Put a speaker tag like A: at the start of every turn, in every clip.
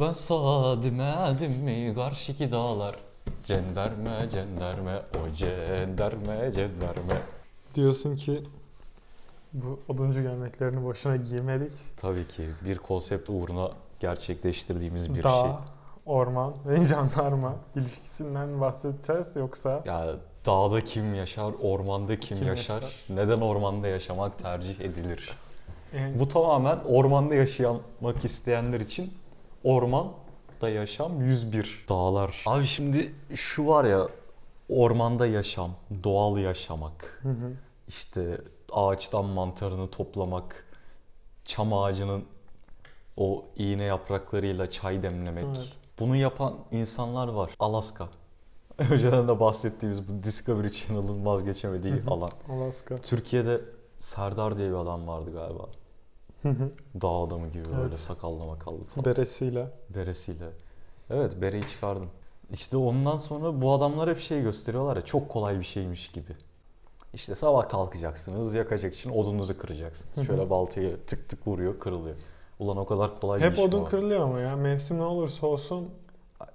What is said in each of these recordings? A: basadım edim mi karşıki dağlar Cenderme cenderme o cenderme cenderme
B: Diyorsun ki bu oduncu gömleklerini boşuna giymedik.
A: Tabii ki bir konsept uğruna gerçekleştirdiğimiz bir
B: Dağ,
A: şey.
B: orman ve jandarma ilişkisinden bahsedeceğiz yoksa
A: Ya dağda kim yaşar, ormanda kim,
B: Kim
A: yaşar?
B: yaşar?
A: Neden ormanda yaşamak tercih edilir?
B: en
A: Bu tamamen ormanda yaşamak isteyenler için ormanda yaşam 101 dağlar. Abi şimdi şu var ya ormanda yaşam, doğal yaşamak.
B: Hı hı.
A: işte ağaçtan mantarını toplamak, çam ağacının o iğne yapraklarıyla çay demlemek.
B: Evet.
A: Bunu yapan insanlar var. Alaska. Önceden de bahsettiğimiz bu Discovery Channel'ın vazgeçemediği alan.
B: Alaska.
A: Türkiye'de Serdar diye bir adam vardı galiba.
B: Hı hı.
A: Dağ adamı gibi böyle
B: Evet.
A: sakallı makallı falan.
B: Beresiyle.
A: Beresiyle. Evet bereyi çıkardım. İşte ondan sonra bu adamlar hep şey gösteriyorlar ya çok kolay bir şeymiş gibi. İşte sabah kalkacaksınız, yakacak için odununuzu kıracaksınız. Şöyle baltayı tık tık vuruyor, kırılıyor. Ulan o kadar kolay bir
B: Hep
A: iş mi
B: odun
A: o?
B: kırılıyor ama ya mevsim ne olursa olsun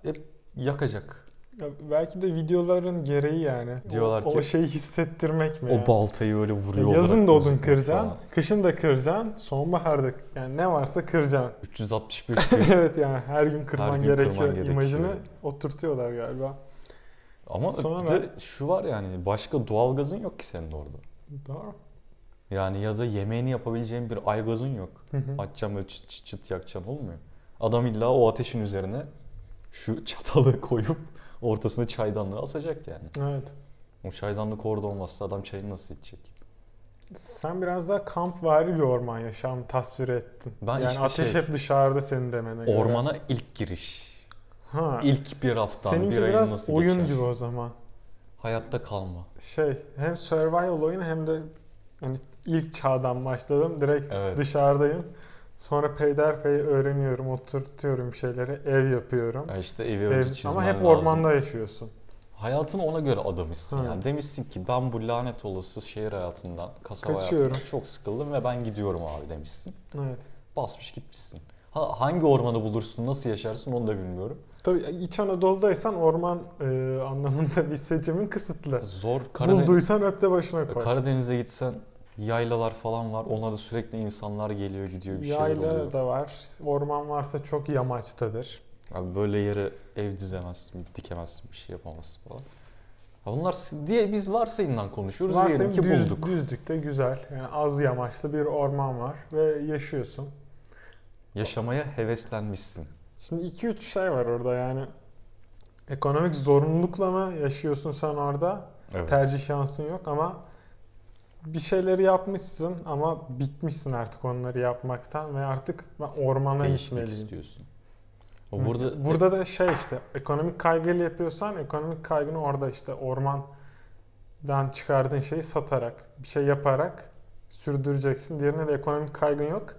A: Hep yakacak.
B: ya belki de videoların gereği yani. O-
A: Diyorlar
B: o,
A: ki-
B: şeyi hissettirmek mi? yani?
A: O baltayı öyle vuruyor.
B: Yazın da
A: bırakıyor
B: odun kıracaksın,
A: falan.
B: kışın da kıracaksın, sonbaharda yani ne varsa kıracaksın.
A: 365 gün.
B: evet yani her gün kırman
A: gün kırman
B: gerekiyor
A: gerekiyor.
B: imajını oturtuyorlar galiba.
A: Ama
B: Sonra
A: bir de şu var yani başka doğalgazın yok ki senin orada.
B: Doğru.
A: Yani ya da yemeğini yapabileceğin bir aygazın yok.
B: Hı hı.
A: Açacağım böyle çıt çıt çıt yakacağım olmuyor. Adam illa o ateşin üzerine şu çatalı koyup ortasına çaydanlığı asacak yani.
B: Evet.
A: O çaydanlık orada olmazsa adam çayını nasıl içecek?
B: Sen biraz daha kampvari bir orman yaşamı tasvir ettin.
A: Ben
B: yani
A: işte
B: ateş
A: şey-
B: hep dışarıda senin demene göre.
A: Ormana ilk giriş.
B: Ha.
A: ilk bir haftan,
B: Seninki
A: bir ayın
B: biraz
A: nasıl
B: oyun
A: geçer?
B: gibi o zaman.
A: Hayatta kalma.
B: Şey hem survival oyun hem de hani ilk çağdan başladım. Direkt
A: Evet.
B: dışarıdayım. Sonra peyderpey öğreniyorum, oturtuyorum bir şeyleri, ev yapıyorum.
A: Ya işte evi önce
B: Ev-
A: çizmen
B: ama hep
A: lazım.
B: ormanda yaşıyorsun.
A: Hayatını ona göre adamışsın
B: Hı.
A: yani. Demişsin ki ben bu lanet olası şehir hayatından, kasaba
B: Kaçıyorum.
A: hayatından çok sıkıldım ve ben gidiyorum abi demişsin.
B: Evet.
A: Basmış gitmişsin. Ha, hangi ormanı bulursun, nasıl yaşarsın onu da bilmiyorum.
B: Tabii İç Anadolu'daysan orman e, anlamında bir seçimin kısıtlı.
A: Zor. Karadeniz,
B: Bulduysan öp de başına koy.
A: Karadeniz'e gitsen yaylalar falan var. Ona da sürekli insanlar geliyor gidiyor bir şeyler
B: Yayla
A: oluyor.
B: da var. Orman varsa çok yamaçtadır.
A: Abi böyle yere ev dizemezsin, dikemezsin, bir şey yapamazsın falan. Ha bunlar s- diye biz varsayımdan konuşuyoruz.
B: Varsa
A: Diyelim ki
B: düz,
A: bulduk.
B: düzlükte güzel. Yani az yamaçlı bir orman var ve yaşıyorsun.
A: Yaşamaya heveslenmişsin.
B: Şimdi iki üç şey var orada yani. Ekonomik zorunlulukla mı yaşıyorsun sen orada?
A: Evet.
B: Tercih şansın yok ama bir şeyleri yapmışsın ama bitmişsin artık onları yapmaktan ve artık ben ormana
A: Değişmek
B: gitmeliyim.
A: istiyorsun. O burada,
B: burada da şey işte ekonomik kaygıyla yapıyorsan ekonomik kaygını orada işte ormandan çıkardığın şeyi satarak bir şey yaparak sürdüreceksin. Diğerine de ekonomik kaygın yok.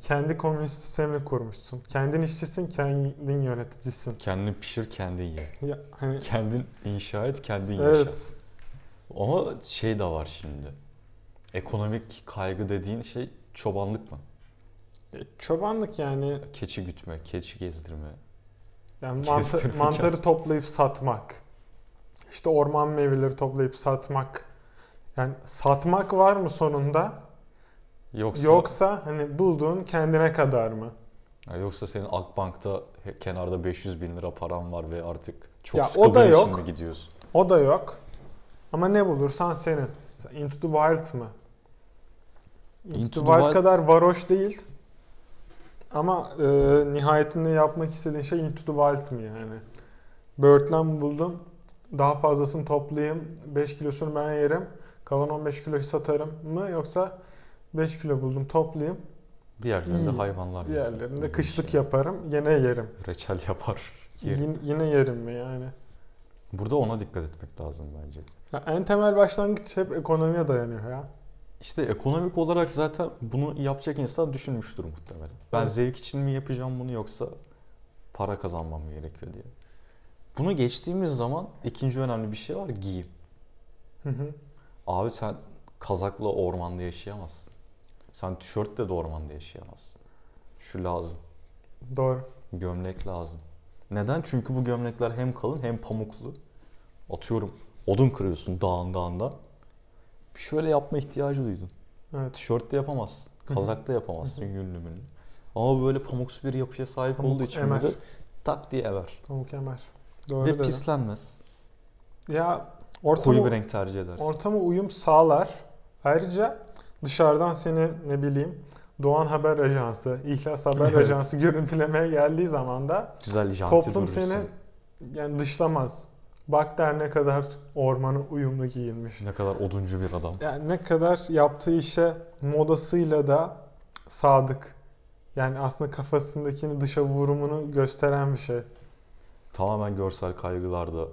B: Kendi komünist sistemini kurmuşsun. Kendin işçisin, kendin yöneticisin.
A: kendini pişir, kendin ye.
B: Ya, hani
A: Kendin inşa et, kendin yaşa.
B: evet.
A: Ama şey de var şimdi. Ekonomik kaygı dediğin şey çobanlık mı?
B: E, Çobanlık yani,
A: Keçi gütme, keçi gezdirme.
B: yani mantar,
A: Kestirmek
B: mantarı toplayıp satmak. İşte orman meyveleri toplayıp satmak. Yani satmak var mı sonunda?
A: Yoksa
B: Yoksa hani bulduğun kendine kadar mı?
A: Ya yoksa senin Akbank'ta he- kenarda 500 bin lira paran var ve artık çok
B: Ya o
A: sıkıldığın
B: da
A: için
B: yok.
A: mi gidiyorsun?
B: O da yok. Ama ne bulursan senin. Mesela Into the Wild mı? Into,
A: Into the
B: the Wild,
A: Wild-
B: kadar varoş değil. Ama e, nihayetinde yapmak istediğin şey Into the Wild mı yani? Böğürtlen buldum. Daha fazlasını toplayayım. 5 kilosunu ben yerim. Kalan 15 kiloyu satarım mı? Yoksa 5 kilo buldum toplayayım.
A: Diğerlerinde
B: İyi.
A: hayvanlar yesin. Öyle
B: Diğerlerini de
A: bir
B: Hmm. kışlık
A: şey.
B: yaparım. Yine yerim.
A: Reçel yapar. yer.
B: Yin- yine yerim mi yani?
A: Burada ona dikkat etmek lazım bence.
B: Ya en temel başlangıç hep ekonomiye dayanıyor ya.
A: İşte ekonomik olarak zaten bunu yapacak insan düşünmüştür muhtemelen. Ben
B: Evet.
A: zevk için mi yapacağım bunu yoksa para kazanmam mı gerekiyor diye. Bunu geçtiğimiz zaman ikinci önemli bir şey var giyim.
B: Hı hı.
A: Abi sen kazakla ormanda yaşayamazsın. Sen tişörtle de ormanda yaşayamazsın. Şu lazım.
B: Doğru.
A: Gömlek lazım. Neden? Çünkü bu gömlekler hem kalın hem pamuklu. Atıyorum odun kırıyorsun dağın dağında. Şöyle yapma ihtiyacı duydun.
B: Evet.
A: Tişörtte yapamazsın. Kazakta yapamazsın yünlü münlü. Ama böyle pamuksu bir yapıya sahip
B: Pamuk
A: olduğu için
B: emer.
A: böyle tak diye ever.
B: Pamuk emer. Doğru
A: Ve
B: dedin.
A: pislenmez.
B: Ya ortamı,
A: Koyu bir renk tercih edersin.
B: ortama uyum sağlar. Ayrıca dışarıdan seni ne bileyim Doğan Haber Ajansı, İhlas Haber
A: Evet.
B: Ajansı görüntülemeye geldiği zaman da
A: Güzel janti
B: toplum
A: durursun.
B: seni yani dışlamaz. Bak der ne kadar ormana uyumlu giyinmiş.
A: Ne kadar oduncu bir adam.
B: Yani ne kadar yaptığı işe modasıyla da sadık. Yani aslında kafasındakini dışa vurumunu gösteren bir şey.
A: Tamamen görsel kaygılarda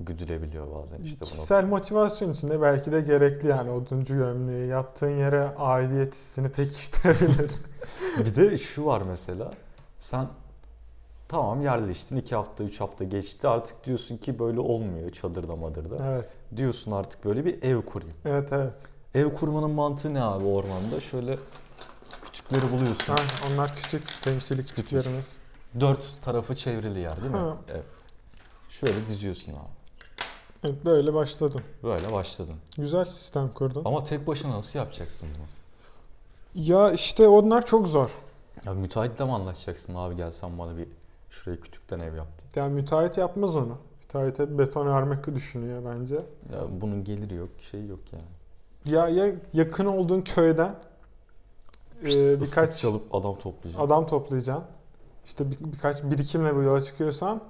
A: güdülebiliyor bazen işte bunu.
B: Kişisel motivasyon içinde belki de gerekli yani oduncu gömleği. Yaptığın yere aidiyet hissini pekiştirebilir.
A: Bir de şu var mesela. Sen tamam yerleştin 2 hafta 3 hafta geçti artık diyorsun ki böyle olmuyor çadırda madırda.
B: evet.
A: Diyorsun artık böyle bir ev kurayım.
B: Evet evet.
A: Ev kurmanın mantığı ne abi ormanda? Şöyle kütükleri buluyorsun.
B: Ha, onlar küçük temsili küçüklerimiz.
A: Dört tarafı çevrili yer değil mi?
B: Ha.
A: Evet. Şöyle diziyorsun abi.
B: Evet böyle başladım.
A: Böyle başladın.
B: Güzel sistem kurdun.
A: Ama tek başına nasıl yapacaksın bunu?
B: Ya işte onlar çok zor.
A: Ya müteahhitle mi anlaşacaksın abi gel sen bana bir şuraya kütükten ev yaptın.
B: Yani müteahhit yapmaz onu. Müteahhit hep beton örmek düşünüyor bence.
A: Ya bunun geliri yok, şey yok yani.
B: Ya, ya yakın olduğun köyden e,
A: Islık
B: birkaç
A: çalıp adam toplayacak.
B: adam toplayacaksın. İşte bir- birkaç birikimle bu yola çıkıyorsan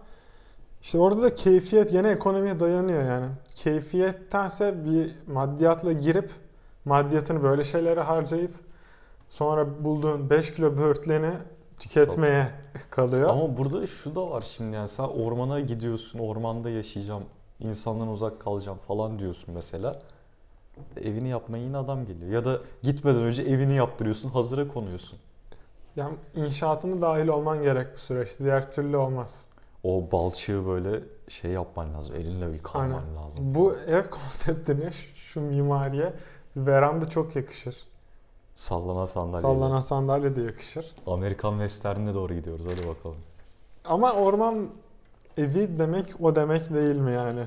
B: işte orada da keyfiyet yine ekonomiye dayanıyor yani. Keyfiyettense bir maddiyatla girip maddiyatını böyle şeylere harcayıp sonra bulduğun 5 kilo böğürtleni tüketmeye kalıyor.
A: Ama burada şu da var şimdi yani sen ormana gidiyorsun, ormanda yaşayacağım, insandan uzak kalacağım falan diyorsun mesela. Evini yapmaya yine adam geliyor. Ya da gitmeden önce evini yaptırıyorsun, hazıra konuyorsun.
B: Yani inşaatına dahil olman gerek bu süreç. Diğer türlü olmaz.
A: O balçığı böyle şey yapman lazım, elinle bir kalman
B: Aynen.
A: lazım.
B: Bu ev konseptine şu- şu mimariye veranda çok yakışır.
A: Sallana sandalye.
B: Sallanan sandalye de yakışır.
A: Amerikan Western'ine doğru gidiyoruz hadi bakalım.
B: Ama orman evi demek o demek değil mi yani?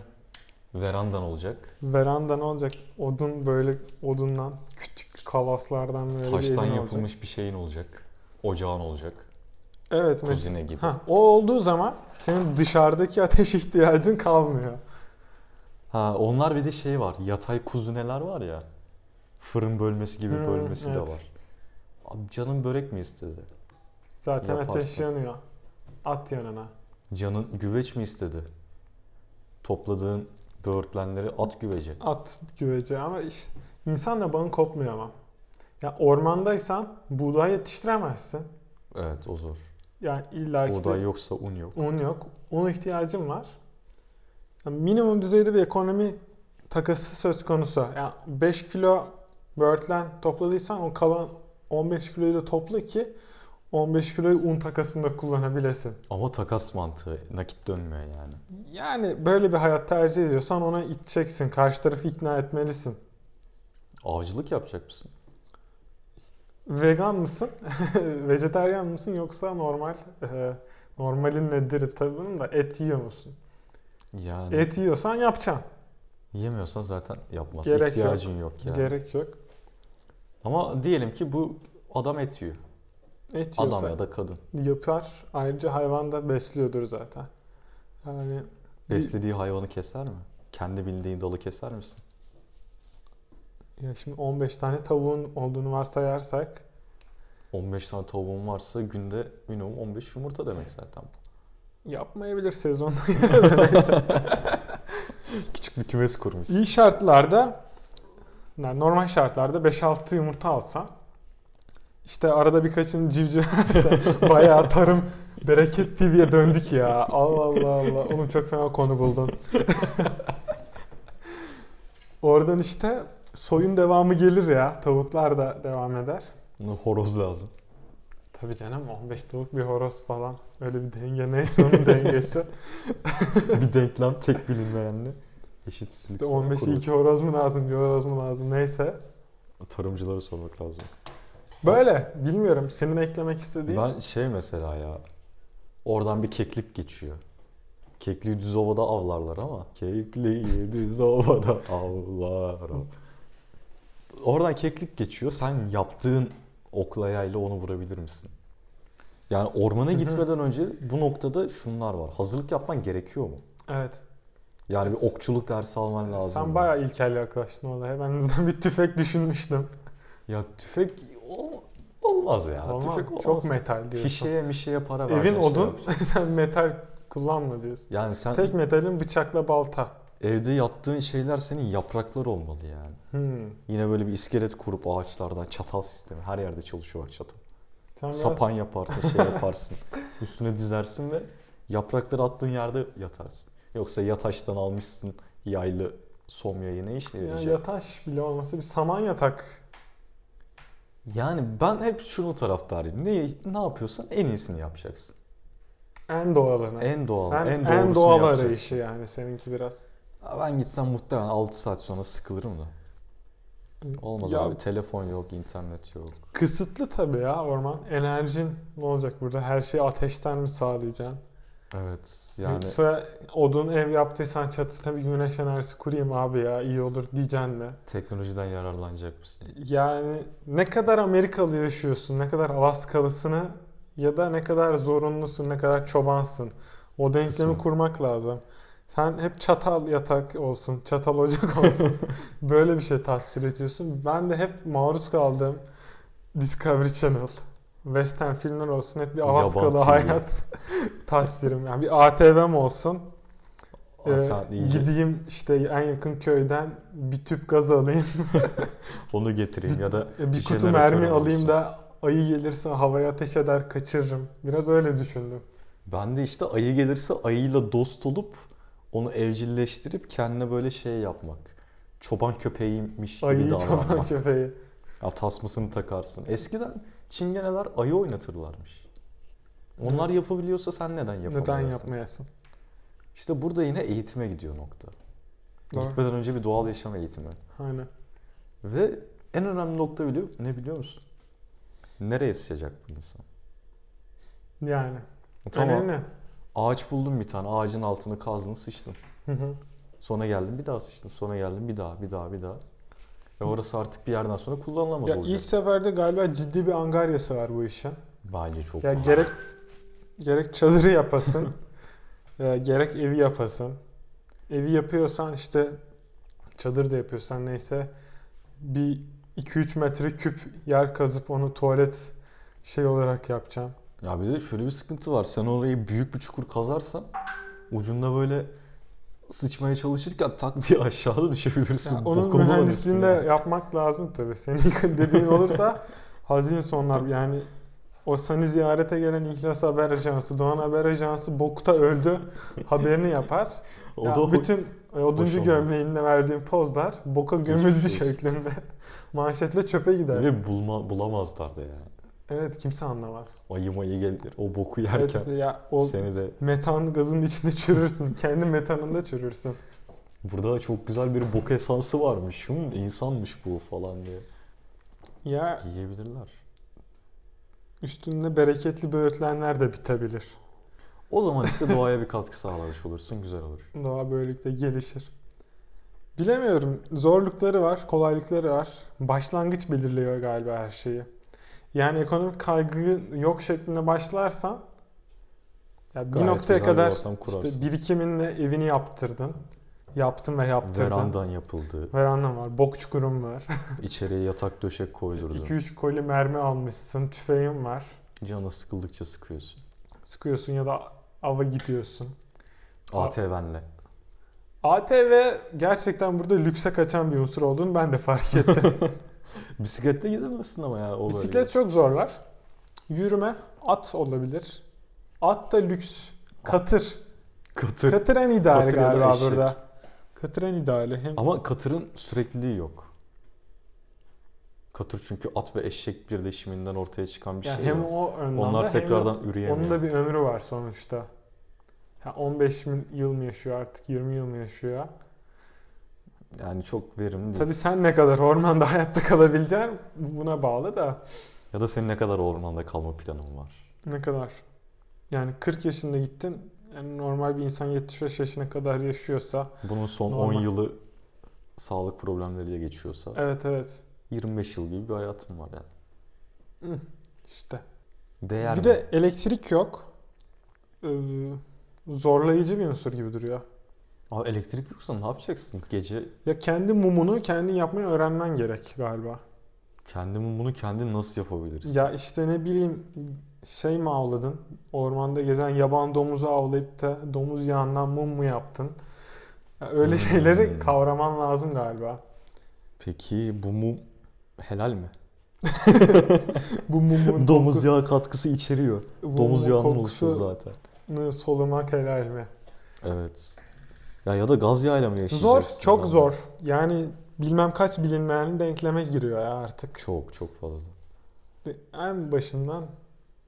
A: Verandan olacak.
B: Veranda ne olacak? Odun böyle odundan, küçük kalaslardan böyle bir
A: Taştan
B: evin olacak.
A: yapılmış bir şeyin olacak. Ocağın olacak.
B: Evet mesela.
A: Kuzine gibi.
B: Ha, o olduğu zaman senin dışarıdaki ateş ihtiyacın kalmıyor.
A: Ha onlar bir de şey var. Yatay kuzuneler var ya. Fırın bölmesi gibi
B: Hmm,
A: bölmesi
B: evet.
A: de var. Abi canın börek mi istedi?
B: Zaten ateş
A: Yaparsın.
B: yanıyor. At yanına.
A: Canın güveç mi istedi? Topladığın böğürtlenleri at güvece.
B: At güvece ama işte insanla bağın kopmuyor ama. Ya ormandaysan buğday yetiştiremezsin.
A: Evet o zor.
B: Yani illa ki
A: Buğday yoksa un yok.
B: un yok. Un ihtiyacım var. Yani minimum düzeyde bir ekonomi takası söz konusu. Yani 5 kilo böğürtlen topladıysan o kalan 15 kiloyu da topla ki 15 kiloyu un takasında kullanabilesin.
A: Ama takas mantığı. Nakit dönmüyor yani.
B: Yani böyle bir hayat tercih ediyorsan ona iteceksin. Karşı tarafı ikna etmelisin.
A: Avcılık yapacak mısın?
B: Vegan mısın? Vejeteryan mısın yoksa normal e, normalin nedir tabii bunun da et yiyor musun?
A: Yani
B: Et yiyorsan yapacaksın.
A: yemiyorsan zaten yapması
B: Gerek yok.
A: ihtiyacın yok, yani.
B: Gerek yok.
A: Ama diyelim ki bu adam et yiyor.
B: Et yiyorsa
A: Adam ya da kadın.
B: yapar. Ayrıca hayvan da besliyordur zaten. Yani bir-
A: Beslediği hayvanı keser mi? Kendi bildiğin dalı keser misin?
B: ya şimdi 15 tane tavuğun olduğunu varsayarsak
A: 15 tane tavuğun varsa günde minimum 15 yumurta demek zaten.
B: yapmayabilir sezonda.
A: Küçük bir kümes kurmuş.
B: İyi şartlarda yani normal şartlarda 5-6 yumurta alsan işte arada birkaçını civcivlerse bayağı tarım bereket TV'ye döndük ya. Allah Allah Allah. Oğlum çok fena konu buldun. Oradan işte soyun devamı gelir ya. Tavuklar da devam eder.
A: Horoz lazım.
B: Tabii canım 15 tavuk bir horoz falan. Öyle bir denge neyse onun dengesi.
A: bir denklem tek bilinmeyenli. Eşitsizlik.
B: İşte 15'e
A: kurulur.
B: 2 horoz mu lazım, bir horoz mu lazım neyse.
A: Tarımcılara sormak lazım.
B: Böyle bilmiyorum senin eklemek istediğin.
A: Ben şey mesela ya Oradan bir keklik geçiyor. Kekliği düz ovada avlarlar ama. Kekliği düz ovada avlar. o. Oradan keklik geçiyor. Sen yaptığın okla yayla onu vurabilir misin? Yani ormana
B: Hı hı.
A: gitmeden önce bu noktada şunlar var. Hazırlık yapman gerekiyor mu?
B: Evet.
A: Yani bir
B: S-
A: okçuluk dersi alman lazım.
B: Sen
A: mı?
B: bayağı ilkel yaklaştın olaya. Ben hızlı bir tüfek düşünmüştüm.
A: Ya tüfek ol- olmaz ya.
B: Olmaz.
A: Tüfek olmaz.
B: Çok metal diyorsun.
A: Fişeye mişeye para
B: Evin
A: vereceksin, şey
B: odun,
A: yapacaksın.
B: sen metal kullanma diyorsun.
A: yani sen
B: Tek metalin bıçakla balta.
A: evde yattığın şeyler senin yapraklar olmalı yani.
B: Hmm.
A: Yine böyle bir iskelet kurup ağaçlardan çatal sistemi. Her yerde çalışıyor bak çatal.
B: Sen biraz-
A: Sapan yaparsın, şey yaparsın. Üstüne dizersin ve yaprakları attığın yerde yatarsın. Yoksa yataştan almışsın yaylı somyayı ne işe
B: Ya
A: yarayacak?
B: yataş bile olması bir saman yatak.
A: Yani ben hep şunu taraftarıyım. Ne, ne yapıyorsan en iyisini yapacaksın.
B: En doğalını.
A: En doğal,
B: Sen
A: en
B: en,
A: doğrusunu
B: doğal
A: yapacaksın.
B: arayışı yani seninki biraz.
A: Ya Ben gitsem muhtemelen 6 saat sonra sıkılırım da. Olmaz
B: Ya-
A: abi telefon yok, internet yok.
B: Kısıtlı tabii ya orman. Enerjin ne olacak burada? Her şeyi ateşten mi sağlayacaksın?
A: Evet yani
B: Yoksa odun ev yaptıysan çatısına bir güneş enerjisi kurayım abi ya iyi olur diyeceksin mi?
A: teknolojiden yararlanacak mısın?
B: Yani ne kadar Amerikalı yaşıyorsun, ne kadar Alaskalısını ya da ne kadar zorunlusun, ne kadar çobansın. O denklemi
A: Kısmen.
B: kurmak lazım. Sen hep çatal yatak olsun, çatal ocak olsun. Böyle bir şey tasvir ediyorsun. Ben de hep maruz kaldığım Discovery Channel, Western filmler olsun hep bir
A: Yaban
B: Alaskalı
A: TV.
B: hayat tasvirim. Yani bir ATV'm olsun.
A: Aa,
B: Ee,
A: sen iyice
B: gideyim işte en yakın köyden bir tüp gaz alayım.
A: onu getireyim ya da
B: E, Bir kutu
A: jeneratör
B: mermi alayım
A: olsun.
B: da ayı gelirse havaya ateş eder kaçırırım. Biraz öyle düşündüm.
A: Ben de işte ayı gelirse ayıyla dost olup onu evcilleştirip kendine böyle şey yapmak. Çoban köpeğiymiş gibi
B: Ayıyı çoban
A: davranmak.
B: köpeği.
A: Ya tasmasını takarsın. Eskiden çingeneler ayı oynatırlarmış. Onlar
B: Evet.
A: yapabiliyorsa sen neden yapamıyorsun?
B: Neden yapmayasın?
A: İşte burada yine eğitime gidiyor nokta.
B: Doğru.
A: Gitmeden önce bir doğal yaşam eğitimi.
B: Aynen.
A: Ve en önemli nokta biliyor, ne biliyor musun? Nereye sıçacak bu insan?
B: Yani.
A: E, Tamam.
B: Önemli.
A: Ağaç buldun bir tane. Ağacın altını kazdın, sıçtın.
B: Hı hı.
A: Sonra geldin bir daha sıçtın. Sonra geldin bir daha, bir daha, bir daha. Ve orası artık bir yerden sonra kullanılamaz
B: ya
A: olacak.
B: ilk seferde galiba ciddi bir angaryası var bu işin.
A: Bence çok
B: Ya gerek gerek çadırı yapasın, ya gerek evi yapasın. Evi yapıyorsan işte çadır da yapıyorsan neyse bir 2-3 metre küp yer kazıp onu tuvalet şey olarak yapacaksın.
A: Ya bir de şöyle bir sıkıntı var. Sen orayı büyük bir çukur kazarsan ucunda böyle sıçmaya çalışırken tak diye aşağıda düşebilirsin.
B: Ya onun
A: Bokunu
B: mühendisliğini de
A: alırsın yani.
B: yapmak lazım tabii. Senin dediğin olursa hazin sonlar yani o seni ziyarete gelen İhlas Haber Ajansı, Doğan Haber Ajansı bokta öldü haberini yapar.
A: O
B: Ya
A: da ho-
B: bütün e, oduncu
A: olmaz.
B: gömleğinde verdiğim pozlar boka gömüldü
A: Geçmiş olsun.
B: şeklinde. Manşetle çöpe gider.
A: Ve bulma, bulamazlar da yani.
B: Evet kimse anlamaz.
A: Ayı mayı gelir. O boku yerken
B: Evet, ya o
A: seni de...
B: metan gazın içinde çürürsün. Kendi metanında çürürsün.
A: Burada çok güzel bir bok esansı varmış. Hı, insanmış bu falan diye.
B: Ya
A: Yiyebilirler.
B: üstünde bereketli böğürtlenler de bitebilir.
A: O zaman işte doğaya bir katkı sağlamış olursun. Güzel olur.
B: Doğa böylelikle gelişir. Bilemiyorum. Zorlukları var, kolaylıkları var. Başlangıç belirliyor galiba her şeyi. Yani ekonomik kaygı yok şeklinde başlarsan ya bir
A: Gayet
B: noktaya
A: güzel bir
B: kadar
A: ortam kurarsın.
B: işte birikiminle evini yaptırdın. Yaptın ve yaptırdın.
A: Verandan yapıldı.
B: Verandan var, bok çukurum var.
A: İçeriye yatak döşek koydurdu.
B: 2-3 koli mermi almışsın, tüfeğin var.
A: Canı sıkıldıkça sıkıyorsun.
B: Sıkıyorsun ya da ava gidiyorsun. Aa.
A: ATV'nle.
B: ATV gerçekten burada lükse kaçan bir unsur olduğunu ben de fark ettim.
A: Bisikletle gidemezsin ama ya o bölgede.
B: Bisiklet çok zorlar. Yürüme, at olabilir. At da lüks. Katır.
A: katır.
B: Katır en ideali
A: Katır ya da
B: galiba
A: eşek.
B: burada. Katır en ideali. Hem
A: Ama katırın sürekliliği yok. Katır çünkü at ve eşek birleşiminden ortaya çıkan bir
B: yani
A: şey.
B: hem
A: ya.
B: o önlemde
A: Onlar
B: hem de
A: tekrardan üreyemiyor.
B: onun da bir ömrü var sonuçta. Ha, 15 bin yıl mı yaşıyor artık 20 yıl mı yaşıyor?
A: Yani çok verimli değil.
B: Tabii sen ne kadar ormanda hayatta kalabileceksin buna bağlı da
A: Ya da senin ne kadar ormanda kalma planın var.
B: ne kadar. Yani 40 yaşında gittin. Yani normal bir insan 75 yaşına kadar yaşıyorsa
A: Bunun son
B: Normal.
A: 10 yılı sağlık problemleriyle geçiyorsa
B: evet evet
A: 25 yıl gibi bir hayatım var yani.
B: işte.
A: Değer
B: bir
A: mi?
B: de elektrik yok. Ee, zorlayıcı bir unsur gibi duruyor.
A: Abi elektrik yoksa ne yapacaksın? Gece
B: Ya kendi mumunu kendin yapmayı öğrenmen gerek galiba.
A: kendimi bunu kendin nasıl yapabilirsin?
B: Ya işte ne bileyim şey mi avladın? Ormanda gezen yaban domuzu avlayıp da domuz yağından mum mu yaptın? Ya öyle
A: Hmm.
B: şeyleri kavraman lazım galiba.
A: Peki bu mum helal mi?
B: Bu mumun
A: Domuz yağı katkısı içeriyor.
B: koku-
A: Domuz
B: mumun
A: yağının oluşuyor zaten.
B: kokusunu solumak helal mi?
A: Evet. Ya ya da gaz yağıyla mı
B: Zor,
A: yaşayacaksın?
B: çok
A: abi?
B: zor. Yani bilmem kaç bilinmeyen denkleme giriyor ya artık.
A: Çok çok fazla.
B: En başından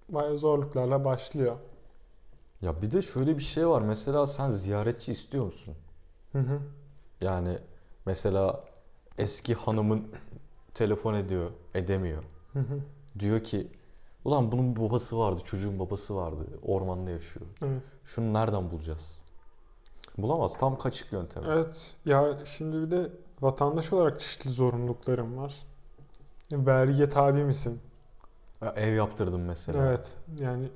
B: bayağı zorluklarla başlıyor.
A: Ya bir de şöyle bir şey var. Mesela sen ziyaretçi istiyor musun?
B: Hı hı.
A: Yani mesela eski hanımın telefon ediyor, edemiyor.
B: Hı hı.
A: Diyor ki ulan bunun babası vardı, çocuğun babası vardı. Ormanda yaşıyor.
B: Evet.
A: Şunu nereden bulacağız? Bulamaz. Tam kaçık yöntemi.
B: Evet. Ya şimdi bir de vatandaş olarak çeşitli zorunluluklarım var. Vergiye tabi misin?
A: Ya ev yaptırdım mesela.
B: Evet. Yani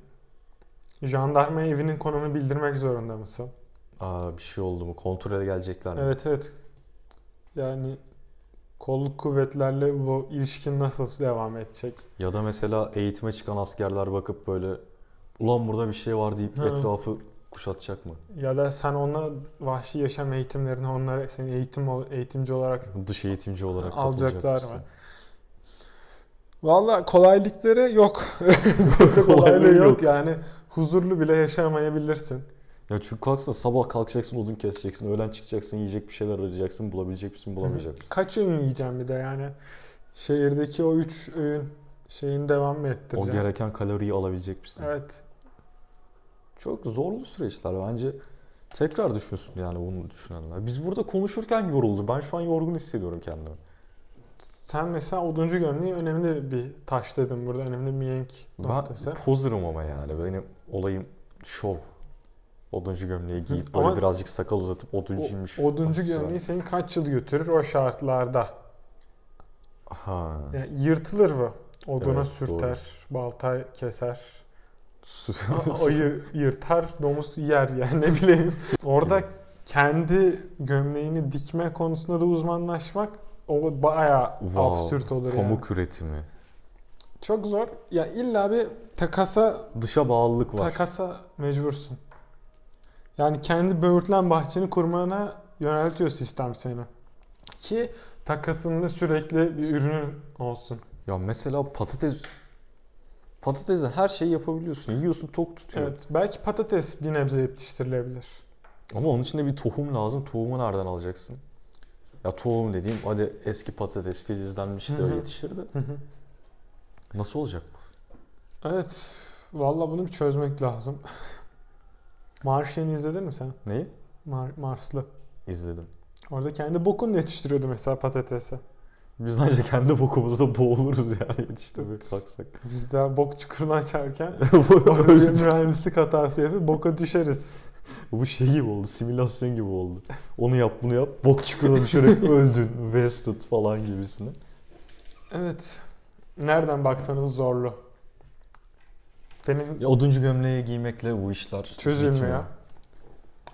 B: jandarma evinin konumunu bildirmek zorunda mısın?
A: Aa, bir şey oldu mu? Kontrole gelecekler mi?
B: Evet evet. Yani kolluk kuvvetlerle bu ilişkin nasıl devam edecek?
A: Ya da mesela eğitime çıkan askerler bakıp böyle ulan burada bir şey var deyip
B: Ha.
A: etrafı kuşatacak mı?
B: Ya da sen ona vahşi yaşam eğitimlerini onlara seni eğitim ol- eğitimci olarak
A: Dış eğitimci olarak katılacak
B: alacaklar mı?
A: mısın?
B: Valla kolaylıkları yok. Kolaylığı
A: Kolaylığı
B: yok.
A: yok.
B: yani. Huzurlu bile yaşamayabilirsin.
A: Ya çünkü kalksana sabah kalkacaksın odun keseceksin, öğlen çıkacaksın, yiyecek bir şeyler arayacaksın, bulabilecek misin, bulamayacak mısın?
B: Kaç öğün yiyeceğim bir de yani. Şehirdeki o üç öğün şeyin devam mı
A: O
B: ettireceğim?
A: gereken kaloriyi alabilecek misin?
B: Evet.
A: Çok zorlu süreçler bence. Tekrar düşünsün yani bunu düşünenler. Biz burada konuşurken yoruldu. Ben şu an yorgun hissediyorum kendimi.
B: Sen mesela oduncu gömleği önemli bir taş dedin burada. Önemli bir mihenk
A: Ben
B: noktası.
A: poserım ama yani. Benim olayım şov. Oduncu gömleği giyip böyle
B: ama-
A: birazcık sakal uzatıp
B: O-
A: oduncuymuş.
B: oduncu
A: havası var.
B: gömleği seni kaç yıl götürür o şartlarda?
A: Ha.
B: Yani yırtılır mı? Oduna
A: Evet,
B: sürter, balta keser,
A: Su-
B: a- ayı yırtar, domuz yer yani ne bileyim. Orada
A: Gibi.
B: kendi gömleğini dikme konusunda da uzmanlaşmak o bayağı
A: Wow,
B: absürt olur yani.
A: Pamuk üretimi.
B: Çok zor. Ya illa bir takasa
A: Dışa bağlılık var.
B: takasa mecbursun. Yani kendi böğürtlen bahçeni kurmana yöneltiyor sistem seni. Ki takasında sürekli bir ürünün olsun.
A: Ya mesela patates patatesle her şeyi yapabiliyorsun. Yiyorsun tok tutuyor.
B: Evet, belki patates bir nebze yetiştirilebilir.
A: Ama onun için de bir tohum lazım. Tohumu nereden alacaksın? Ya tohum dediğim hadi eski patates filizlenmiş
B: Hı
A: de
B: hı.
A: yetişirdi. Nasıl olacak?
B: Evet, valla bunu bir çözmek lazım. Martian'ı izledin mi sen?
A: Neyi?
B: Mar- Marslı.
A: İzledim.
B: Orada kendi bokunu yetiştiriyordu mesela patatesi.
A: Biz ancak kendi bokumuzda boğuluruz yani yetiştirmeye
B: Evet.
A: kalksak.
B: Biz daha bok çukuruna açarken orada bir
A: Öldük.
B: mühendislik hatası yapıp boka düşeriz.
A: Bu şey gibi oldu, simülasyon gibi oldu. Onu yap, bunu yap, bok çukuruna düşerek öldün, wasted falan gibisine.
B: Evet. Nereden baksanız zorlu. Benim
A: Ya oduncu gömleği giymekle bu işler
B: Çözülmüyor.
A: bitmiyor.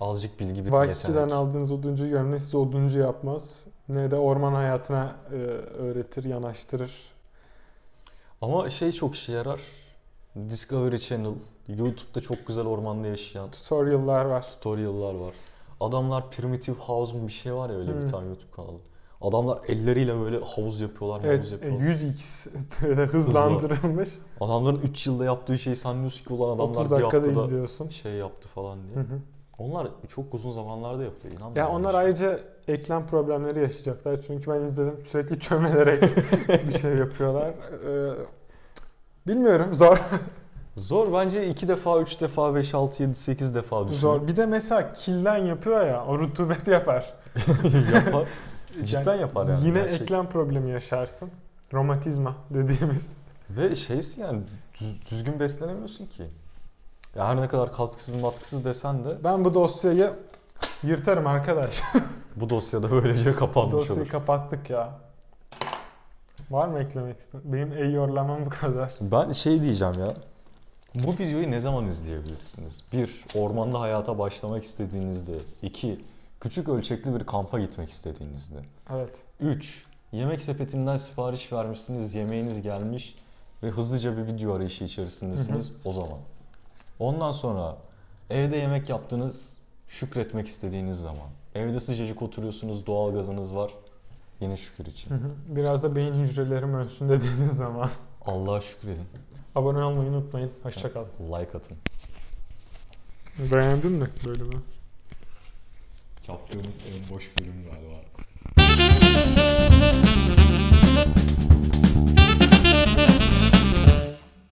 A: Azıcık bilgi bir
B: Vahki'den
A: yetenek.
B: aldığınız oduncu gömleği sizi oduncu yapmaz. Ne de orman hayatına e, öğretir, yanaştırır.
A: Ama şey çok işe yarar. Discovery Channel, YouTube'da çok güzel ormanda yaşayan
B: Tutorial'lar var.
A: tutorial'lar var. Adamlar Primitive House mu bir şey var ya öyle
B: Hmm.
A: bir tane YouTube kanalı. Adamlar elleriyle böyle havuz yapıyorlar, havuz
B: Evet, e,
A: yapıyorlar.
B: 100x böyle hızlandırılmış.
A: Adamların 3 yılda yaptığı şeyi sanmıyorsun ki ulan
B: 30
A: adamlar bir
B: dakikada
A: haftada
B: izliyorsun.
A: şey yaptı falan diye.
B: Hı hı.
A: Onlar çok uzun zamanlarda yapıyor inan
B: Ya
A: bana.
B: onlar ayrıca eklem problemleri yaşayacaklar. Çünkü ben izledim sürekli çömelerek bir şey yapıyorlar. Ee, bilmiyorum zor
A: Zor bence 2 defa, 3 defa, 5, 6, 7, 8 defa düşün.
B: zor. Bir de mesela kilden yapıyor ya o rutubet yapar.
A: yapar. Cidden yapar yani.
B: Yine
A: gerçek.
B: eklem problemi yaşarsın. Romatizma dediğimiz.
A: Ve şeysin yani düz- düzgün beslenemiyorsun ki. Ya her ne kadar katkısız matkısız desen de
B: Ben bu dosyayı yırtarım arkadaş.
A: bu dosyada böylece kapanmış
B: Dosyayı
A: olur.
B: kapattık ya. Var mı eklemek istediğin? Benim eyyorlamam bu kadar.
A: Ben şey diyeceğim ya. Bu videoyu ne zaman izleyebilirsiniz? Bir, ormanda hayata başlamak istediğinizde. İki, küçük ölçekli bir kampa gitmek istediğinizde.
B: Evet.
A: 3. Yemek sepetinden sipariş vermişsiniz, yemeğiniz gelmiş ve hızlıca bir video arayışı içerisindesiniz o zaman. Ondan sonra evde yemek yaptınız, şükretmek istediğiniz zaman. Evde sıcacık oturuyorsunuz, doğal gazınız var. Yine şükür için.
B: Hı hı. Biraz da beyin hücrelerim ölsün dediğiniz zaman.
A: Allah'a şükredin.
B: Abone olmayı unutmayın. Hoşçakalın.
A: Like atın.
B: Beğendin mi bölümü?
A: Yaptığımız en boş bölüm galiba.